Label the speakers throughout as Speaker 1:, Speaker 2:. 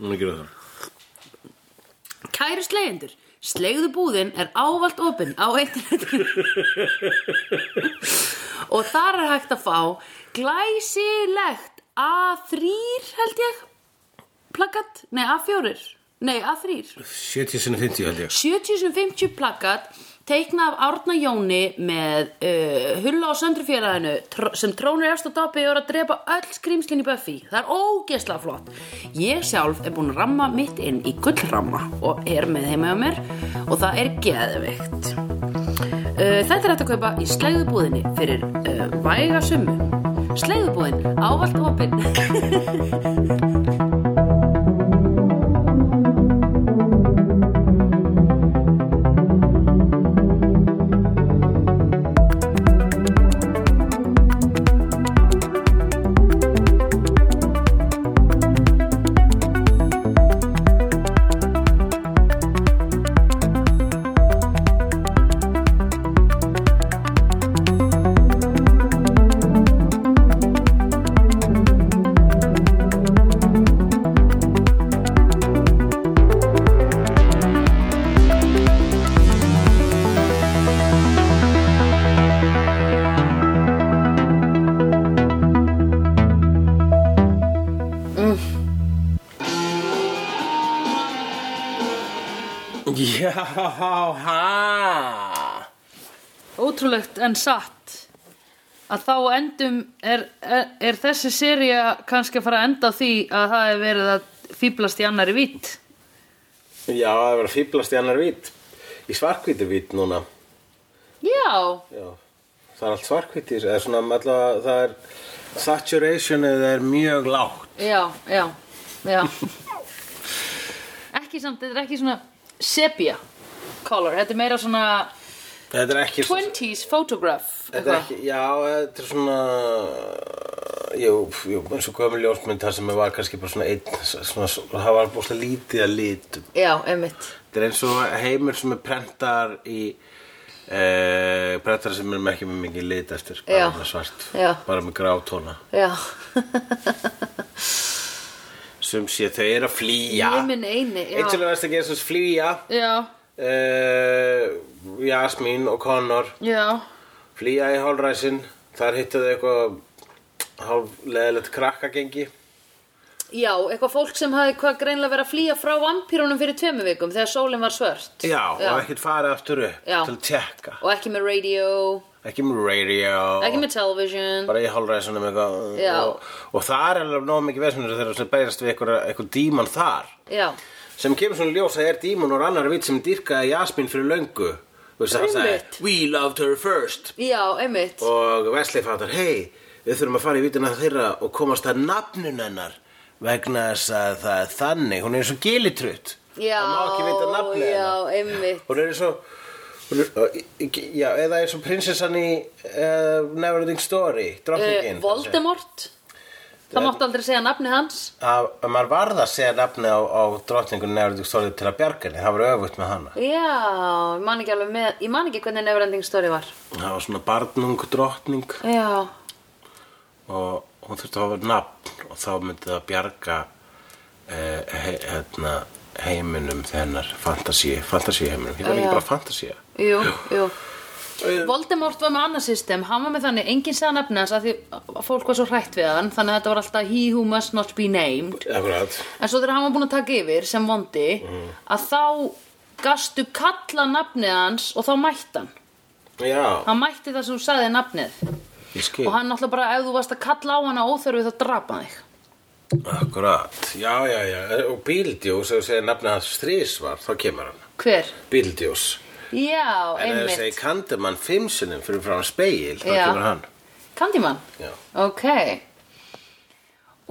Speaker 1: Núna gerum við það.
Speaker 2: Kæru slegjendur, slegðu búðin er ávallt opinn á internetinu og þar er hægt að fá glæsilegt A3 held ég plakat, nei A4 nei A3
Speaker 1: 70 sinni 50 held ég.
Speaker 2: 70-50 plakat teikna af Árna Jóni með uh, Hulla og Söndrufjörðinu tr sem trónir efst á doppi og er að drepa öll skrýmslin í Buffy. Það er ógeðslega flott. Ég sjálf er búin að ramma mitt inn í gullramma og er með heima á mér og það er geðveikt. Uh, þetta er hægt að kaupa í slegðubúðinni fyrir uh, væga summu. Slegðubúðin, ávalt opinn.
Speaker 1: Já, ha.
Speaker 3: ótrúlegt en satt að þá endum er, er, er þessi seria kannski að fara að enda á því að það er verið að fýblast í annari vitt
Speaker 1: Já, það var að fýblast í annar vít. Í svarkvíti vít núna.
Speaker 3: Já,
Speaker 1: Já. Það er allt svarkvíti. Það er svona, allavega, það er saturation eða er mjög lágt.
Speaker 3: já, já, já Ekki samt, þetta er ekki svona sepia color, þetta er meira svona
Speaker 1: Þetta er ekki...
Speaker 3: 20s photograph
Speaker 1: Þetta er
Speaker 3: eitthvað.
Speaker 1: ekki, já, þetta er svona jú, jú, eins og gömul ljósmynd þar sem ég var kannski bara svona einn svona, svona, það var búinlega lítið að litum
Speaker 3: Já, einmitt
Speaker 1: þetta er eins og heimur sem er prentar í eh, prentar sem er ekki með mikið lit eftir bara
Speaker 3: Já.
Speaker 1: með svart,
Speaker 3: Já.
Speaker 1: bara með grátóna
Speaker 3: Já,
Speaker 1: sem sé þau eru að flýja
Speaker 3: ég minn eini Já,
Speaker 1: eitt sem er verst að gera sem flýja
Speaker 3: já,
Speaker 1: eh, Jasmín og Connor
Speaker 3: já,
Speaker 1: flýja í hálræsin þar hittu þau eitthvað hálfleðilegt krakkagengi
Speaker 3: já eitthvað fólk sem hafði hvað greinlega verið að flýja frá vampírunum fyrir tveimu vikum þegar sólin var svört
Speaker 1: Já, og ekkert farið aftur upp
Speaker 3: Já.
Speaker 1: til að tjekka.
Speaker 3: Og ekki með radio,
Speaker 1: Ekki með radio.
Speaker 3: ekki með television
Speaker 1: Bara í hálfræðisunum eitthvað.
Speaker 3: Já.
Speaker 1: Og, og það er alveg nóg mikið veðsynur þegar það bæðast við eitthvað, eitthvað díman þar.
Speaker 3: Já,
Speaker 1: Sem kemur svona í ljós að er díman og annar vitt sem dýrkaði Jasmín fyrir löngu. Þú veist að hann
Speaker 3: Einmitt.
Speaker 1: sagði, we loved her first.
Speaker 3: já, einmitt
Speaker 1: Og Wesley fattar, hei, við þurfum að fara í vítina þeirra og komast að nafnun hennar vegna þess að það er þannig. Hún er eins og gilitrutt.
Speaker 3: Já,
Speaker 1: Það má ekki vita nafnið
Speaker 3: já,
Speaker 1: hennar.
Speaker 3: einmitt
Speaker 1: Hún er eins og hún er, ö, í- í- Já, eða eins og prinsessan í uh, Neverending Story
Speaker 3: uh,
Speaker 1: Drottningin
Speaker 3: Voldemort Það mátti aldrei segja nafni hans
Speaker 1: að, að maður varð að segja nafni á, á drottningun Neverending Story til að bjarga henni Það var öfugt með hana
Speaker 3: Já, ég man ekki alveg með, ég man ekki hvernig Neverending Story var.
Speaker 1: Það var svona barnung drottning
Speaker 3: Já,
Speaker 1: og hún þurfti að hafa nafn og þá myndi það bjarga uh, he, hérna, heiminum þennar fantasíu, fantasíu heiminum Ég var
Speaker 3: Já.
Speaker 1: ekki bara fantasíu
Speaker 3: jú, jú. Voldemort var með annað system, hann var með þannig, enginn segja nafni hans að því að fólk var svo hrætt við hann, þannig að þetta var alltaf he who must not be named.
Speaker 1: Akkurat
Speaker 3: En svo þegar hann var búin að taka yfir sem vondi, að þá gastu kalla nafnið hans og þá mætti hann.
Speaker 1: Já,
Speaker 3: Hann mætti það sem þú sagði nafnið.
Speaker 1: ég skil
Speaker 3: Og hann náttúrulega bara, ef þú varst að kalla á hana óþörfið þá drapa hann þig.
Speaker 1: Akkurat, já, já, já, og Bíldjós, ef þú segir nafnið hans strísvar, þá kemur hann,
Speaker 3: Hver?
Speaker 1: Bíldjós.
Speaker 3: Já,
Speaker 1: En ef þú segir
Speaker 3: einmitt.
Speaker 1: Kandemann fimm sinnum fyrir frá hann speil, þá
Speaker 3: Já.
Speaker 1: kemur hann.
Speaker 3: Candyman?
Speaker 1: Já.
Speaker 3: Ok.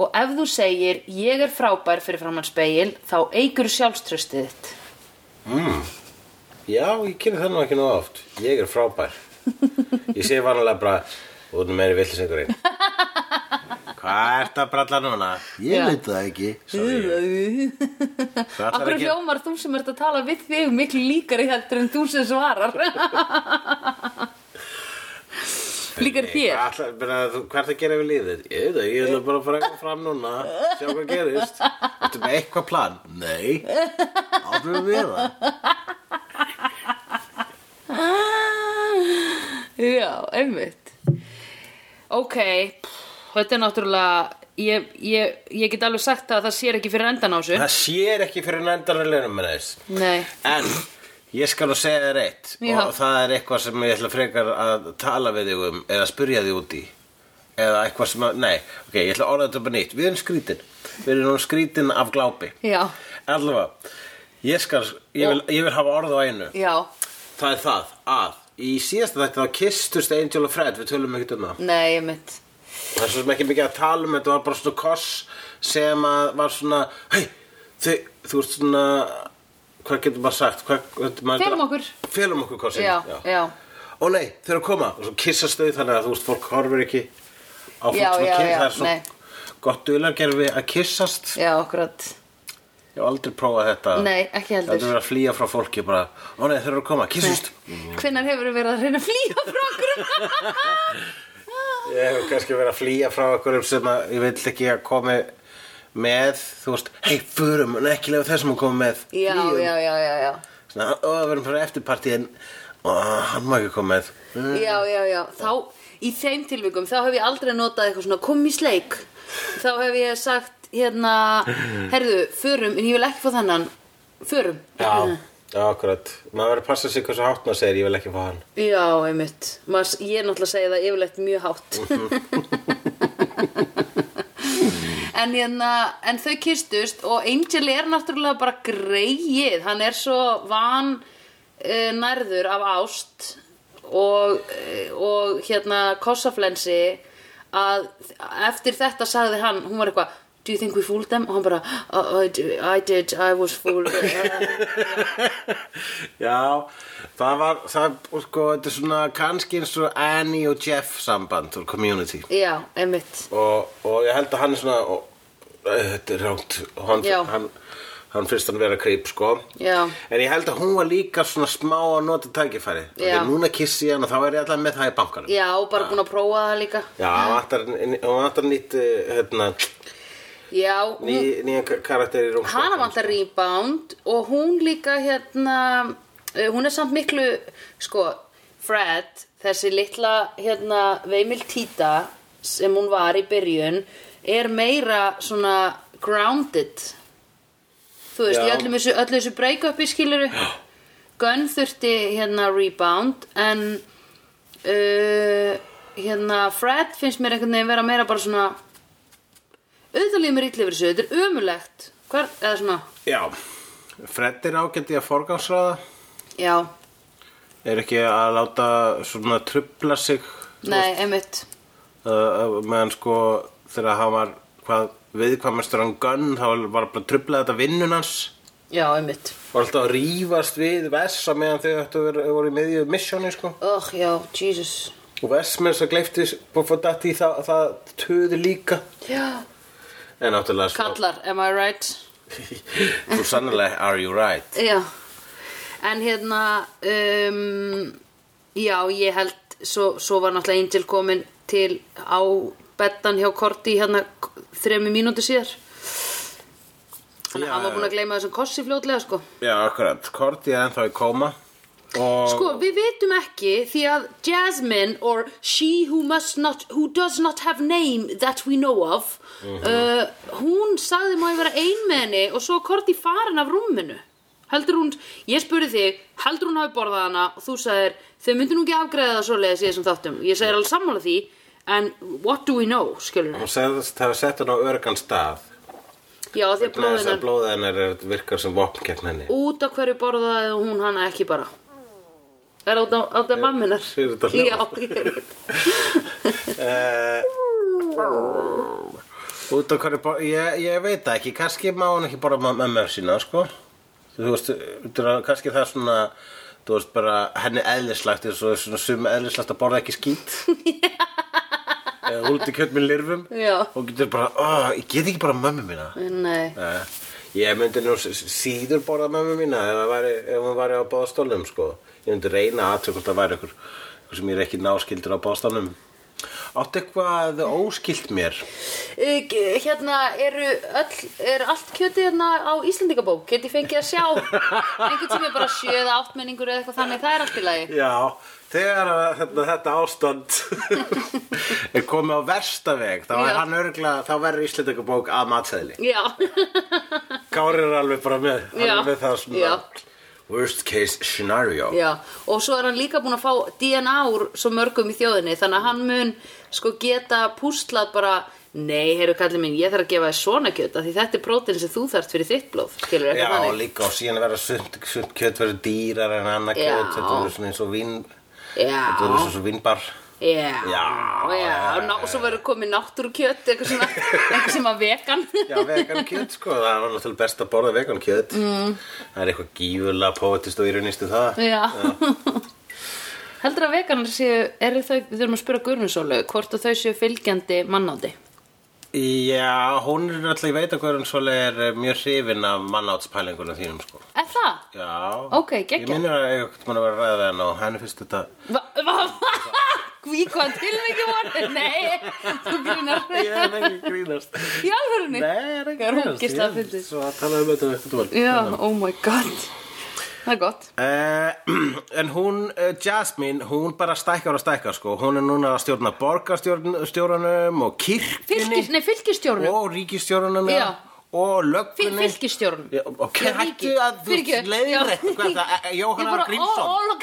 Speaker 3: Og ef þú segir ég er frábær fyrir framann speil, þá eigur sjálfströstið þitt.
Speaker 1: já, ég kemur það nú ekki nú oft, ég er frábær. Ég segi vanalega bara, út með meiri villisengurinn. Hvað ert að bralla núna? Ég
Speaker 3: Já.
Speaker 1: veit það ekki, sorry. Þú ætlar
Speaker 3: Akkur
Speaker 1: ekki-
Speaker 3: hljómar þú sem ert að tala við þig miklu líkari heldur en þú sem svarar. Líkar þér?
Speaker 1: Alla, byrja, þú, hvað ertu að gera við lífið? Ég veit það, ég ætla bara að fara eitthvað fram núna Sjá hvað gerist Ertu með eitthvað plan? Nei Áfram við það
Speaker 4: Já, einmitt Ok, pff, þetta er náttúrulega ég, ég, ég get alveg sagt að það sér ekki fyrir endan á þessu
Speaker 1: Það sér ekki fyrir nændarleginum með þess
Speaker 4: Nei,
Speaker 1: En ég skal nú segja þér eitt
Speaker 4: Já.
Speaker 1: og það er eitthvað sem ég ætla frekar að tala við þig um eða spyrja þig út í eða eitthvað sem að, nei, ok, ég ætla að orða þetta bara nýtt við erum skrítin, við erum nú skrítin af glápi
Speaker 4: já,
Speaker 1: allavega, ég skal ég vil, ég vil hafa orð á einu
Speaker 4: já
Speaker 1: það er það að í síðasta þetta þá kistust Angel og Fred, við tölum ekkert um það
Speaker 4: Nei, einmitt
Speaker 1: það er svo sem ekki mikið að tala um þetta var bara svona koss sem að var svona hei, þau, þú ert svona hvað getur maður sagt hvað, hvað- maður
Speaker 4: Felum okkur.
Speaker 1: felum okkur kossin
Speaker 4: Já, já.
Speaker 1: ó nei, þau eru að koma og svo kissast þau þannig að þú veist fólk horfir ekki á fólk
Speaker 4: Já,
Speaker 1: sem að
Speaker 4: já,
Speaker 1: kissa
Speaker 4: já,
Speaker 1: það er svo
Speaker 4: nei.
Speaker 1: gott dulargerfi að kissast
Speaker 4: Já, akkurat
Speaker 1: ég hef aldrei prófað þetta
Speaker 4: Nei, ekki heldur.
Speaker 1: þetta er verið að flýja frá fólki bara ó nei, þau eru að koma, kissust
Speaker 4: Hvenær hefur verið að reyna að flýja frá okkur?
Speaker 1: Ég hef kannski verið að flýja frá einhverjum sem að ég vil ekki að komi með, þú veist, hei, förum, en ekki lega þessum að koma með.
Speaker 4: já, já, já, já, já
Speaker 1: Svona, og það verðum fyrir eftirpartíðin, og hann má ekki koma með.
Speaker 3: Já, já, já, þá í þeim tilvikum, þá hef ég aldrei notað eitthvað svona kom í sleik þá hef ég sagt, hérna herðu, förum, en ég vil ekki fá þennan förum
Speaker 1: Já, já, akkurat. Maður verður að passa sig hversu hátt maður segir, ég vil ekki fá hann.
Speaker 3: Já, einmitt, Mas, ég náttúrulega segi það yfirleitt mjög hátt En hérna, en þau kistust og Angel er náttúrulega bara greið, hann er svo van uh, nærður af ást og, uh, og hérna kossaflensi að eftir þetta sagði hann, hún var eitthvað Do you think we fooled them? Og hann bara, "Oh, I, d- I did, I was fooled.
Speaker 1: Já, það var, það, sko, þetta er svona kannski eins og Annie og Jeff samband úr community.
Speaker 3: Já, einmitt.
Speaker 1: og, og ég held að hann er svona og, æ, þetta er rámt og hann,
Speaker 3: Já.
Speaker 1: hann, hann finnst hann vera creep sko
Speaker 3: Já.
Speaker 1: en ég held að hún var líka svona smá að nota tækifæri
Speaker 3: Já.
Speaker 1: þegar núna kissi ég hann og þá er ég alltaf með það í bankanum
Speaker 3: Já, bara búin að prófa það líka.
Speaker 1: Já, hann vantar- hún vantar nýtt eh, hérna,
Speaker 3: Já, hún,
Speaker 1: ný, nýjan ka- karakter í rúmstokknum sko.
Speaker 3: hana vantar rebound og hún líka hérna eh, hún er samt miklu sko, Fred þessi litla hérna veimil títa sem hún var í byrjun er meira svona grounded þú veist,
Speaker 1: Já.
Speaker 3: í öllum þessu, öllu þessu break-upi skiluru Gunn þurfti hérna rebound en uh, hérna Fred finnst mér einhvern veginn vera meira bara svona auðvitað líður mér illa yfir þessu, þetta er ömulegt hver, eða svona,
Speaker 1: Já, Fred er ágændi að forgangsraða
Speaker 3: já
Speaker 1: er ekki að láta svona trubla sig
Speaker 3: nei, einmitt
Speaker 1: uh, meðan sko þegar hann var hvað viðkvæmastur hann gunn þá var bara að trubla þetta vinnun hans
Speaker 3: já, einmitt,
Speaker 1: var alltaf að rífast við Vess á meðan þau ættu að vera- voru í miðju missjóni sko
Speaker 3: oh, já, Jesus
Speaker 1: og Vess með þess að gleifti Bofodatti það, það töðu líka
Speaker 3: já,
Speaker 1: en náttúrulega sko
Speaker 3: kallar, am I right
Speaker 1: þú sannlega are you right
Speaker 3: já, en hérna um, já, ég held svo, svo var náttúrulega Angel komin til á bettan hjá Korti hérna þremi mínútu síðar þannig
Speaker 1: Já,
Speaker 3: að hann var
Speaker 1: já.
Speaker 3: búin að gleyma þessum kossi fljótlega sko
Speaker 1: já akkurat, Korti er ennþá í koma og
Speaker 3: Sko, við vitum ekki því að Jasmine or she who must not, who does not have name that we know of uh, hún sagði maður vera einmenni og svo korti farin af rúminu heldur hún, ég spurði þig heldur hún hafi borðað hana og þú sagðir þau myndir nú ekki afgreða það svoleiðis í þessum þáttum ég sagði alveg sammála því en what do we know, skilur
Speaker 1: hún segðist það var sett hann á örgan stað
Speaker 3: já, því
Speaker 1: með
Speaker 3: að
Speaker 1: þess að
Speaker 3: blóðinan
Speaker 1: blóða hennar er- virkar sem vopn gegn henni
Speaker 3: út af hverju borðaði hún hana ekki bara er það út af- út af mamminar
Speaker 1: fyrir þetta hljóð.
Speaker 3: já, ég veit
Speaker 1: Út af hverju, bo- ég, ég veit það ekki, kannski má hann ekki bara með mömmu sína, sko. Þú veist, þú veist, kannski það er svona, þú veist, bara henni eðlislagt, eins og svona sum eðlislagt að borða ekki skít. Eða húldi kjöt með lirfum.
Speaker 3: Já.
Speaker 1: Og getur bara, ó, ég get ekki bara mömmu mína.
Speaker 3: Nei,
Speaker 1: Nei. Ég myndi nú s- síður borða mömmu mína ef, það væri, ef hún væri á báðastólum, sko. Ég myndi reyna að hvort það væri ykkur, ykkur sem ég er ekki náskildur á báðastólum. Áttu eitthvað óskilt mér?
Speaker 3: Eh, g- hérna eru öll, er allt kjötið hérna á Íslandingabók get ég fengið að sjá einhvern tíma bara sjö eða áttmenningur eða eitthvað þannig það er allt í lagi
Speaker 1: Já, þegar að, hérna, þetta ástand er komið á versta veg þá
Speaker 3: Já.
Speaker 1: er hann örgulega, þá verður Íslandingabók að matsæðli
Speaker 3: já,
Speaker 1: Kári er alveg bara með, hann
Speaker 3: Já.
Speaker 1: er með það svona
Speaker 3: Já.
Speaker 1: worst case scenario
Speaker 3: já og svo er hann líka búin að fá DNA úr svo mörgum í þjóðinni þannig að hann mun sko geta púslað bara nei, heyrðu kallið minn, ég þarf að gefa þér svona kjöt af því þetta er prótin sem þú þarft fyrir þitt blóð
Speaker 1: Já,
Speaker 3: skilur ekki
Speaker 1: og
Speaker 3: þannig
Speaker 1: líka og síðan verða sumt, sumt kjöt verður dýrar en annað
Speaker 3: Já.
Speaker 1: kjöt þetta verður svona eins og vín þetta verður
Speaker 3: já,
Speaker 1: svona eins og vínbar
Speaker 3: já,
Speaker 1: Já,
Speaker 3: já,
Speaker 1: já,
Speaker 3: ná- og svo verður komið náttúrukjöt eitthvað sem að, eitthvað sem að vegan
Speaker 1: Já, vegan kjöt sko, það var náttúrulega best að borða vegan kjöt mm. Það er eitthvað gífulega poetist og ironist í það
Speaker 5: Já. Heldur að veganar séu, eru þau, við þurfum að spura Guðrunnsólu, hvort að þau séu fylgjandi mannátti?
Speaker 1: Já, hún er náttúrulega, ég veit að hverjum svolítið er eh, mjög hrifin af mannátspælingunum þínum sko
Speaker 5: Er það?
Speaker 1: Já,
Speaker 5: Ok,
Speaker 1: ég
Speaker 5: geggjað.
Speaker 1: minnir að eitthvað mann að vera að ræða hann og henni finnst þetta
Speaker 5: Va, va, va, í hvað tilviki voru? Nei, þú grínar.
Speaker 1: Ég er ekki að grínast Nei,
Speaker 5: Í alvörunni?
Speaker 1: ég er ekki að grínast
Speaker 5: Ógeðslega
Speaker 1: Ég er
Speaker 5: fyndið.
Speaker 1: Svo að tala um þetta eftir tól
Speaker 5: Já, oh my god. Það er gott.
Speaker 1: Uh, en hún, uh, Jasmine, hún bara stækkar og stækkar sko Hún er núna að stjórna borgarstjóranum og kirkjunni
Speaker 5: Fylgis, nei, fylgistjórnum.
Speaker 1: Og ríkistjóranum
Speaker 5: Já.
Speaker 1: Og löggunni
Speaker 5: Fylgistjórnum.
Speaker 1: Já, Ok,
Speaker 5: Já,
Speaker 1: hættu
Speaker 5: ríki.
Speaker 1: að þú
Speaker 5: Fyrirgefðu.
Speaker 1: leiðir
Speaker 5: Já.
Speaker 1: hvað það, eh, Jóhanna
Speaker 5: Ég
Speaker 1: var
Speaker 5: bara
Speaker 1: Grímsson
Speaker 5: all of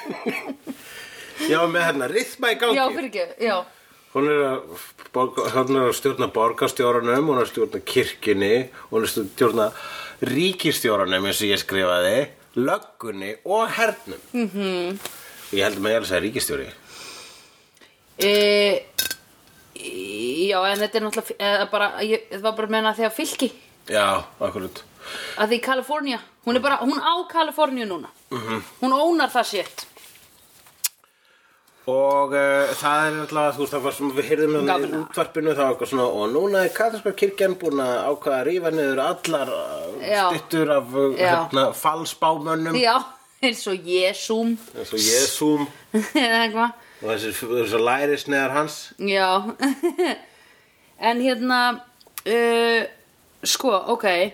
Speaker 5: California.
Speaker 1: Já, með hérna, rithma í gangi
Speaker 5: Já, fyrir ekki, já.
Speaker 1: Hún er að, borga- hún er að stjórna borgarstjóranum, hún er að stjórna kirkjunni, hún er að stjórna ríkistjóranum eins og ég skrifaði, löggunni og hernum. Mm
Speaker 3: Mhm.
Speaker 1: -hmm. Ég held með ég alveg að segja ríkistjóri.
Speaker 3: e, já en þetta er náttúrulega eða bara, ég, það var bara að menna þegar fylki
Speaker 1: Já, akkurat.
Speaker 3: að því Kalifornía, hún er bara, hún á Kaliforníu núna, hún ónar það sétt
Speaker 1: Og uh, það er alltaf, þú veist, það var sem við heyrðum um í
Speaker 3: Gafna.
Speaker 1: útvarpinu, það var eitthvað svona, og núna er katholska kirkjan búin að ákvaða að rífa niður allar
Speaker 3: Já.
Speaker 1: uh, styttur af uh,
Speaker 3: Já.
Speaker 1: hérna, falsbámönnum,
Speaker 3: já, eins og Jesúm
Speaker 1: eins og Jesúm
Speaker 3: eða eitthvað
Speaker 1: og þessi, þessi lærisneðar hans.
Speaker 3: Já En hérna uh, Sko, ok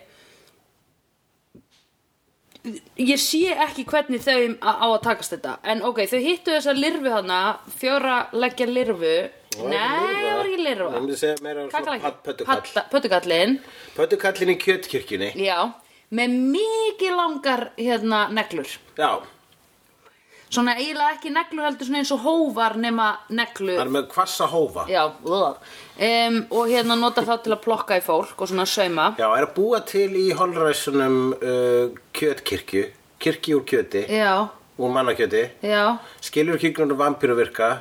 Speaker 3: Ég sé ekki hvernig þau á á að takast þetta En ok, þau hittu þessa lirfu þarna Fjóra leggja lirfu Nei, það var ekki
Speaker 1: Ég
Speaker 3: lirfa
Speaker 1: myndi segja meira um svona
Speaker 3: Kakalakki.
Speaker 1: pat- pöttukall.
Speaker 3: Patta- Pöttukallinn
Speaker 1: Pöttukallin í kjötkirkjunni.
Speaker 3: Já, með mikið langar hérna neglur
Speaker 1: Já,
Speaker 3: Svona eiginlega ekki neglur heldur svona eins og hóvar nema neglu
Speaker 1: það er með hvassa hófa.
Speaker 3: Já, um, og hérna nota þá til að plokka í fólk og svona sauma
Speaker 1: Já, er að búa til í holræsunum uh, kjötkirkju, kirkju úr kjöti,
Speaker 3: Já,
Speaker 1: úr mannakjöti,
Speaker 3: já,
Speaker 1: skilur kirkjunum vampíru virka,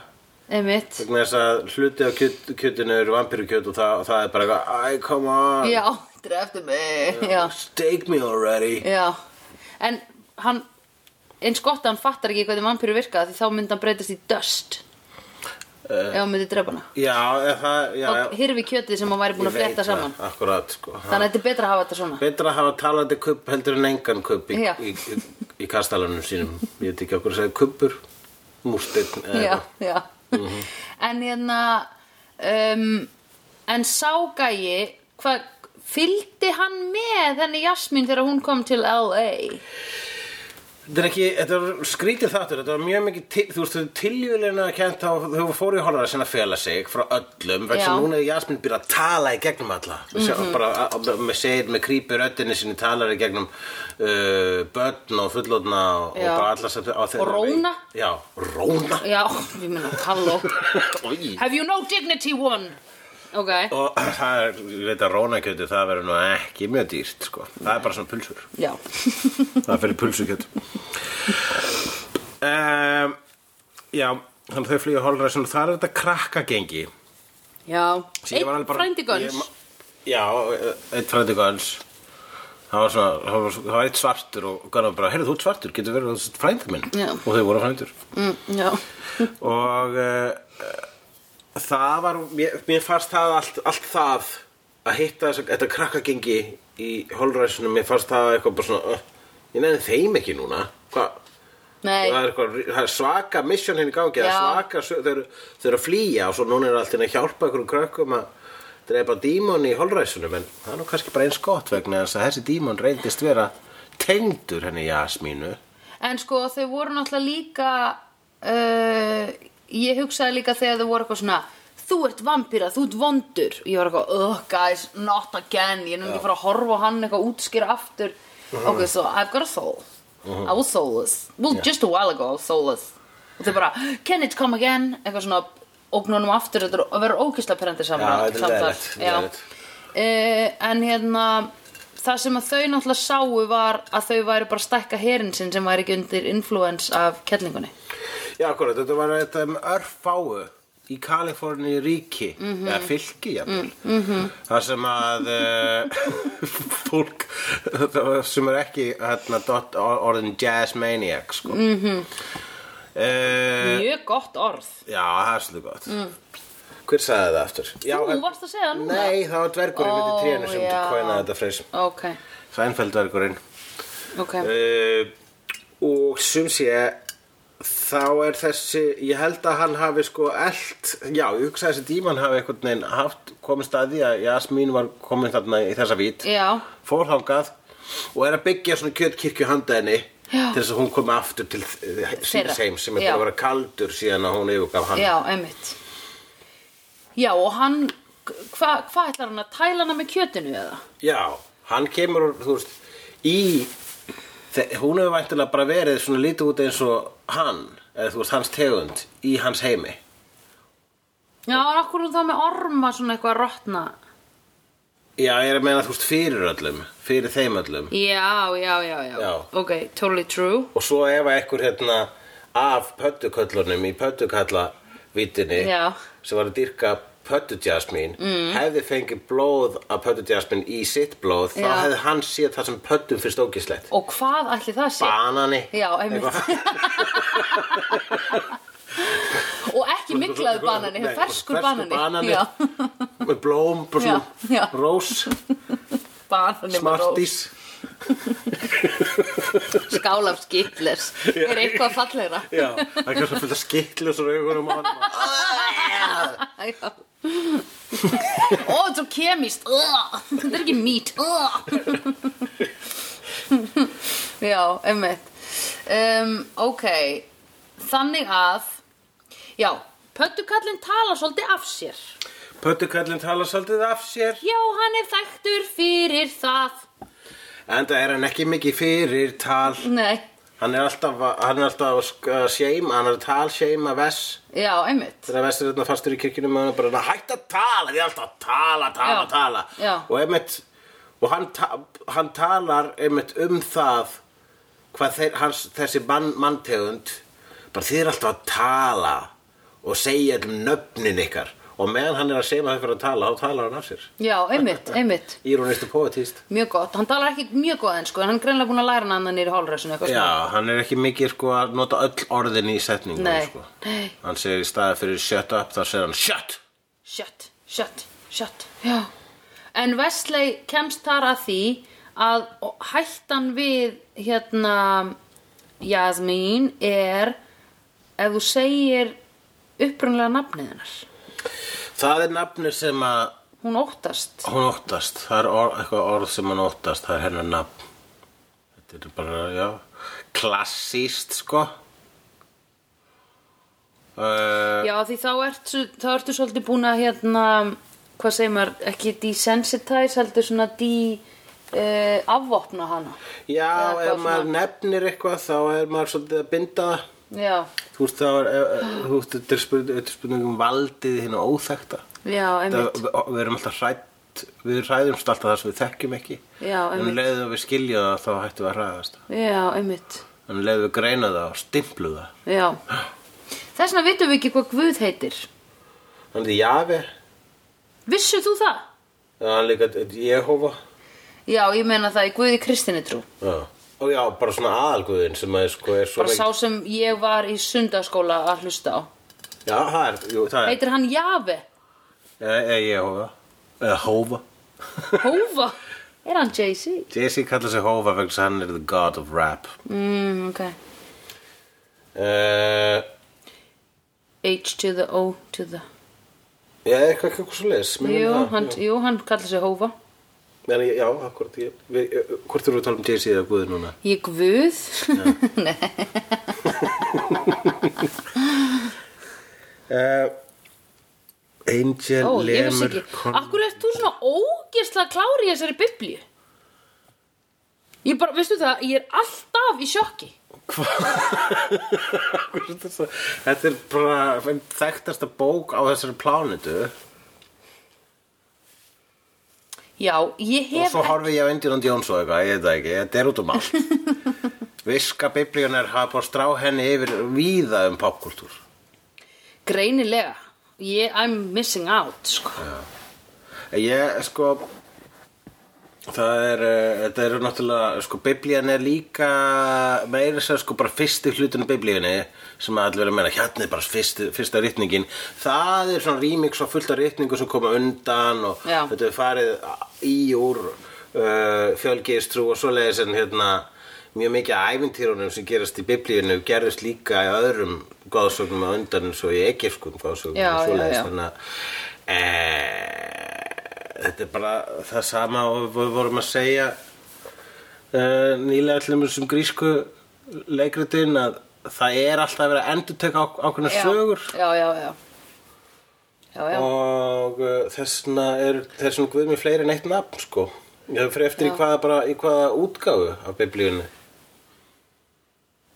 Speaker 3: einmitt
Speaker 1: vegna þess að hluti af kjöt, kjötinu eru vampíru kjöt og það, og það er bara eitthvað, æ, come on,
Speaker 3: Já, dreftu mig Já,
Speaker 1: steak me already.
Speaker 3: já En hann, eins gott að hann fattar ekki hvernig vampíru virka því þá myndi hann breytast í dust uh, ef hann myndi drepa hana
Speaker 1: Já, er það, Eh. já,
Speaker 3: og hirfi kjötið sem hann væri búin að flétta saman
Speaker 1: Akkurat, sko.
Speaker 3: Þannig að þetta er betra að hafa þetta svona
Speaker 1: Betra að hafa talandi kubb heldur en engan kubb í,
Speaker 3: Já.
Speaker 1: í, í, í kastalanum sínum. Ég veit ekki okkur að segja kubbur, múrsteinn eða
Speaker 3: Já,
Speaker 1: eitthvað. Mhm.
Speaker 3: já En hérna um, En sá gæi Hvað, fylgdi hann með henni Jasmín þegar hún kom til LA?
Speaker 1: Þetta er ekki, þetta er skrítið þáttur, þetta var mjög mikið, til, þú veist, þau tiljulega kent á, þau fóru í horfara sinna að fela sig frá öllum, vegna
Speaker 3: Já. Mhm.
Speaker 1: sem núna er Jasmín byrja að tala í gegnum alla. Mm -hmm. Bara, a- a- með segir, með krýpur öttinni sinni talar í gegnum uh, börn og fullotna og, og
Speaker 3: Já.
Speaker 1: bara alla sem á þeirra.
Speaker 3: Og róna.
Speaker 1: vegi. Já, róna.
Speaker 3: Já, ég meina, halló
Speaker 1: Í.
Speaker 3: Have you no dignity one? Ok,
Speaker 1: Og það er, ég veit að rónakjötu, það verður nú ekki mjög dýrt, sko. Það er bara svona pulsur.
Speaker 3: já
Speaker 1: Það er fyrir pulsukjöt. um, já, þannig þau flýja holræsum og það er þetta krakkagengi.
Speaker 3: Já,
Speaker 1: Sem ég var
Speaker 3: einn
Speaker 1: alveg bara-
Speaker 3: frændi
Speaker 1: ég
Speaker 3: guns
Speaker 1: ma- Já, eitt frændi guns. Það var svona, það var, það var eitt svartur og Gunnar bara, heyrðu þú ert svartur, getur verið þessi frændi minn.
Speaker 3: Já.
Speaker 1: Og þau voru frændur.
Speaker 3: mm, Já,
Speaker 1: og uh, það var, mér, mér fannst það allt, allt það að hitta þess, þetta krakkagengi í holræsunum, mér fannst það eitthvað bara svona, uh, ég nefnir þeim ekki núna, hvað?
Speaker 3: Nei.
Speaker 1: það er, eitthvað, það er svaka mission henni gangi það er
Speaker 3: Já.
Speaker 1: svaka, sö- þau eru, þau eru að flýja og svo núna er allt henni að hjálpa einhverjum krökkum að dreipa dímon í holræsunum en það er nú kannski bara eins gott vegna þess að þessi dímon reyndist vera tengdur henni Jasmínu
Speaker 3: En sko þau voru náttúrulega líka uh, Ég hugsaði líka þegar þau voru eitthvað svona Þú ert vampýra, þú ert vondur Ég var eitthvað, oh guys, not again Ég er nú ekki að fara að horfa á hann eitthvað útskýra aftur
Speaker 1: Uh-huh.
Speaker 3: Ok, so I've got a soul I was soulless Well, just a while ago, I was soulless Og þau bara, can it come again? Eitthvað svona, ógnunum aftur Þetta er að vera ókislega perendi saman
Speaker 1: Já, þetta er
Speaker 3: samtal.
Speaker 1: leiðilegt,
Speaker 3: Já.
Speaker 1: leiðilegt.
Speaker 3: Eh, en hérna það sem að þau náttúrulega sáu var að þau væri bara að stækka herin sinn sem væri ekki undir influence af kellingunni
Speaker 1: Já, akkurat, þetta var þetta um örfáu í Kaliforni ríki
Speaker 3: Mhm.
Speaker 1: eða fylki, jafnvel mm -hmm. það sem að uh, fólk það sem er ekki hérna, dot, orðin jazz maniac sko. mm -hmm.
Speaker 3: Mhm. mjög gott orð
Speaker 1: Já, það er svolítið gott Hver sagði það aftur? Já,
Speaker 3: Mm. Þú
Speaker 1: en-
Speaker 3: varst að segja það núna.
Speaker 1: Nei, það var dvergurinn
Speaker 3: Ó,
Speaker 1: myndi trénu sem
Speaker 3: já.
Speaker 1: kvænaði þetta freys
Speaker 3: ok,
Speaker 1: Sænfeldvergurinn
Speaker 3: ok
Speaker 1: uh, og sum sé þá er þessi ég held að hann hafi sko eld já, ég hugsa að þessi díman hafi einhvern veginn haft komist að því að Jasmín var komin þarna í þessa vít
Speaker 3: Já.
Speaker 1: fórhangað og er að byggja svona kjötkirkju handa henni
Speaker 3: Já.
Speaker 1: til þess að hún komi aftur til síns heims sem er
Speaker 3: Já.
Speaker 1: búin að vera kaldur síðan að hún yfirgaf hann
Speaker 3: já, einmitt já og hann hvað hva ætlar hann að tæla hana með kjötinu eða?
Speaker 1: Já, hann kemur, úr, þú veist, í, þe- hún hefur væntulega bara verið svona lítið út eins og hann, eða þú veist, hans tegund, í hans heimi.
Speaker 3: já, akkur þá með orma svona eitthvað að rotna
Speaker 1: Já, ég er að meina, þú veist, fyrir öllum, fyrir þeim öllum.
Speaker 3: já, já, já, já,
Speaker 1: Já.
Speaker 3: ok, totally true
Speaker 1: Og svo ef að einhver hérna af pöttuköllunum í pöttukallavítinni,
Speaker 3: Já.
Speaker 1: sem var að dyrka pöttujasmín, mm. hefði fengið blóð af pöttujasmín í sitt blóð, þá
Speaker 3: Já.
Speaker 1: hefði hann séð það sem pöttum fyrir stókislegt.
Speaker 3: og hvað ætli það sé?
Speaker 1: Banani.
Speaker 3: Já, einmitt
Speaker 1: Eitthvað.
Speaker 3: Og ekki miklaðu banani,
Speaker 1: Nei,
Speaker 3: sko, ferskur banani
Speaker 1: banani
Speaker 3: Já,
Speaker 1: með blóm, bara svona
Speaker 3: Já, já.
Speaker 1: rós,
Speaker 3: banani
Speaker 1: smartís
Speaker 3: Skál af skittlers Er eitthvað fallegra
Speaker 1: já, það er kannski fullt að skitlu svo augunum á hann
Speaker 3: Já. Ó, þetta er svo kemist Ugh, Þetta er ekki mít Ugh. Já, einmitt um, Ok Þannig að Já, pöttukallinn talar svolítið af sér
Speaker 1: Pöttukallin tala svolítið af sér
Speaker 3: Já, hann er þekktur fyrir það
Speaker 1: en það er hann ekki mikið fyrir tal
Speaker 3: Nei,
Speaker 1: hann er alltaf, að- hann er alltaf að sk- að seima hann er að tal seima vess
Speaker 3: já, einmitt
Speaker 1: þegar vestur þarna fastur í kirkjunum og hann er bara að hætta að tala, þið er alltaf að tala, tala,
Speaker 3: Já.
Speaker 1: tala
Speaker 3: Já.
Speaker 1: og einmitt og hann, ta hann talar einmitt um það hvað þeir, hans, þessi mann, manntegund bara þið er alltaf að tala og segja allum nöfnin ykkar og meðan hann er að segja maður fyrir að tala þá talar hann af sér
Speaker 3: Já, einmitt, einmitt
Speaker 1: Íronistu poetist
Speaker 3: Mjög gott, hann talar ekki mjög góð en sko en hann er greinlega búin að læra hann hann í hálfræsinu eitthvað svona.
Speaker 1: Já, hann er ekki mikið sko að nota öll orðin í setningu
Speaker 3: Nei.
Speaker 1: sko.
Speaker 3: Nei.
Speaker 1: Hann segir í staði fyrir shut up þá segir hann shut
Speaker 3: Shut, shut, shut Já En Wesley kemst þar að því að hættan við hérna Jasmín er ef þú segir upprunlega nafnið hennar
Speaker 1: Það er nafni sem að
Speaker 3: hún óttast
Speaker 1: Hún óttast, það er orð, eitthvað orð sem hún óttast, það er hennar nafn. Þetta er bara, já, klassíst, sko. Uh,
Speaker 3: Já því þá ertu, þá ertu svolítið búin að hérna hvað segir maður, ekki desensitize heldur svona de uh, afvopna hana
Speaker 1: já,
Speaker 3: Eða
Speaker 1: ef
Speaker 3: eitthvað
Speaker 1: maður
Speaker 3: svona.
Speaker 1: nefnir eitthvað, þá er maður svolítið að binda það.
Speaker 3: Já,
Speaker 1: Þú veist, þá er, eh, eh, þú veist, þetta er spurning- þetta er spurning um valdið hinn og óþekta.
Speaker 3: já,
Speaker 1: Það,
Speaker 3: einmitt
Speaker 1: við, við erum alltaf hrætt, við hræðumst alltaf það sem við þekkjum ekki. en
Speaker 3: Já, einmitt.
Speaker 1: um leiðum við skilja það, þá hættum við að hræðast.
Speaker 3: Já, einmitt
Speaker 1: En um leiðum við greina það og stimplu það.
Speaker 3: Já Þess vegna vitum við ekki hvað Guð heitir
Speaker 1: Þannig að jafi,
Speaker 3: Vissu þú það?
Speaker 1: það er líka Jehova.
Speaker 3: Já, ég meina það í Guði kristinni trú
Speaker 1: Já. Og já, bara svona aðalguðin sem að sko er svo
Speaker 3: Bara sá sem ég var í sundaskóla að hlusta á
Speaker 1: Já, það er, jú, það er
Speaker 3: Heitir hann Jave?
Speaker 1: Eða ég hófa Eða hófa
Speaker 3: Hófa? Er hann Jay-Z?
Speaker 1: Jesse kallar sig hófa vegna þess að hann er the god of rap
Speaker 3: Mm, ok
Speaker 1: uh,
Speaker 3: H to the O to the
Speaker 1: Já, eitthvað eitthvað svo leis
Speaker 6: Jú, hann, jú, hann kallar sig Hófa
Speaker 1: Já, akkurat ég, við, eh, Hvort eru við að tala um Jay-Z eða Guði núna?
Speaker 3: Ég guð
Speaker 1: Uh, Angel,
Speaker 3: Ó, ég vissi
Speaker 1: Lemur
Speaker 3: ekki Akkur ert þú svona ógeðslega klári í þessari biblíu? Ég bara, veistu það, ég er alltaf í sjokki
Speaker 1: Akkur er þetta svo- Þetta er bara ein þekktasta bók á þessari plánutu
Speaker 3: Já, ég
Speaker 1: og
Speaker 3: hef
Speaker 1: svo horfi ég á Indiana Jones og eitthvað, ég veit það ekki, þetta er út um allt Viska biblíunar hafa búið að strá henni yfir víða um popkultúr
Speaker 3: greinilega ég, I'm missing out sko.
Speaker 1: Ég, sko Það er, uh, þetta eru náttúrulega, sko, biblían er líka meira sér, sko, bara fyrsti hlutinu biblíunni sem að allir verið að meina, hérna er bara fyrsti, fyrsta ritningin það er svona rýmix og fullt af ritningu sem koma undan og
Speaker 3: Já.
Speaker 1: þetta er farið í úr uh, fjölgiðstrú og svoleiðis en hérna mjög mikið af ævintýrunum sem gerast í biblíunni gerðist líka í öðrum góðsögnum á undan eins og í ekkirskum góðsögnum og
Speaker 3: Já, já,
Speaker 1: svoleiðis
Speaker 3: já.
Speaker 1: þannig að e, þetta er bara það sama og við vorum að segja e, nýlega allir sem grísku leikritin að það er alltaf að vera að endurtöka á, ákveðna
Speaker 3: Já.
Speaker 1: sögur
Speaker 3: Já, já, já Já, já,
Speaker 1: og e, þessna er þessum guðmi fleiri en eitt nafn sko ég fyrir eftir í hvaða, bara, í hvaða útgáfu af biblíunni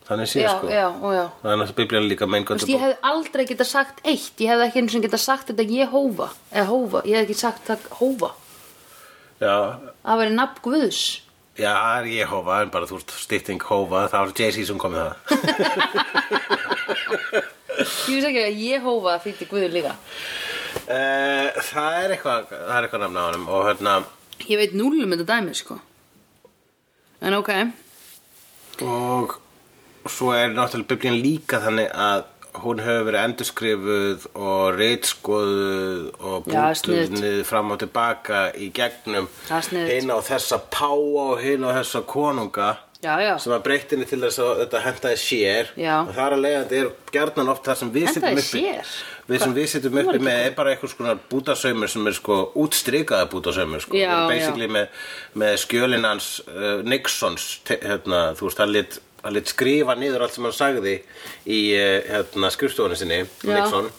Speaker 1: þannig sé
Speaker 3: já,
Speaker 1: sko
Speaker 3: já, og já
Speaker 1: það er náttúrulega biblíunni líka
Speaker 3: Þú veist, ég
Speaker 1: meingöndu
Speaker 3: hefði aldrei geta sagt eitt Ég hefði ekki einu sem geta sagt þetta ég hófa Eða hófa, ég hefði ekki sagt það hófa
Speaker 1: já,
Speaker 3: Það væri nafn Guðs
Speaker 1: Já, það er Jehova, en bara þú ert stytting Hova, það var Jay-Z sem kom með það.
Speaker 3: Ég veist ekki að ég hófa þýtti Guður líka
Speaker 1: Eh, það er eitthvað, það er eitthvað nafn á honum og hérna,
Speaker 3: Ég veit núlum þetta dæmi, sko En ok
Speaker 1: og svo er náttúrulega biblían líka þannig að hún hefur verið endurskrifuð og reitskoðuð og
Speaker 3: Já,
Speaker 1: bútuð
Speaker 3: sniðugt.
Speaker 1: niður fram og tilbaka í gegnum
Speaker 3: Það er sniðugt.
Speaker 1: hinn á þessa páa og hinn á þessa konunga
Speaker 3: Já, já,
Speaker 1: sem að breytinni til þess að þetta hentaði sér
Speaker 3: Já.
Speaker 1: og þar að leiðandi er gjarnan oft það sem við
Speaker 3: Hentaði
Speaker 1: sittum uppi
Speaker 3: sér?
Speaker 1: við sem við sittum uppi með er bara einhvers konar bútasaumur sem er sko útstrikaða bútasaumur sko.
Speaker 3: Já,
Speaker 1: Við erum basically með, með skjölin hans uh, Nixons te- hérna, þú veist, hann lit, hann lit skrifa niður allt sem hann sagði í uh, hérna, skrifstofunni sinni,
Speaker 3: Já.
Speaker 1: Nixon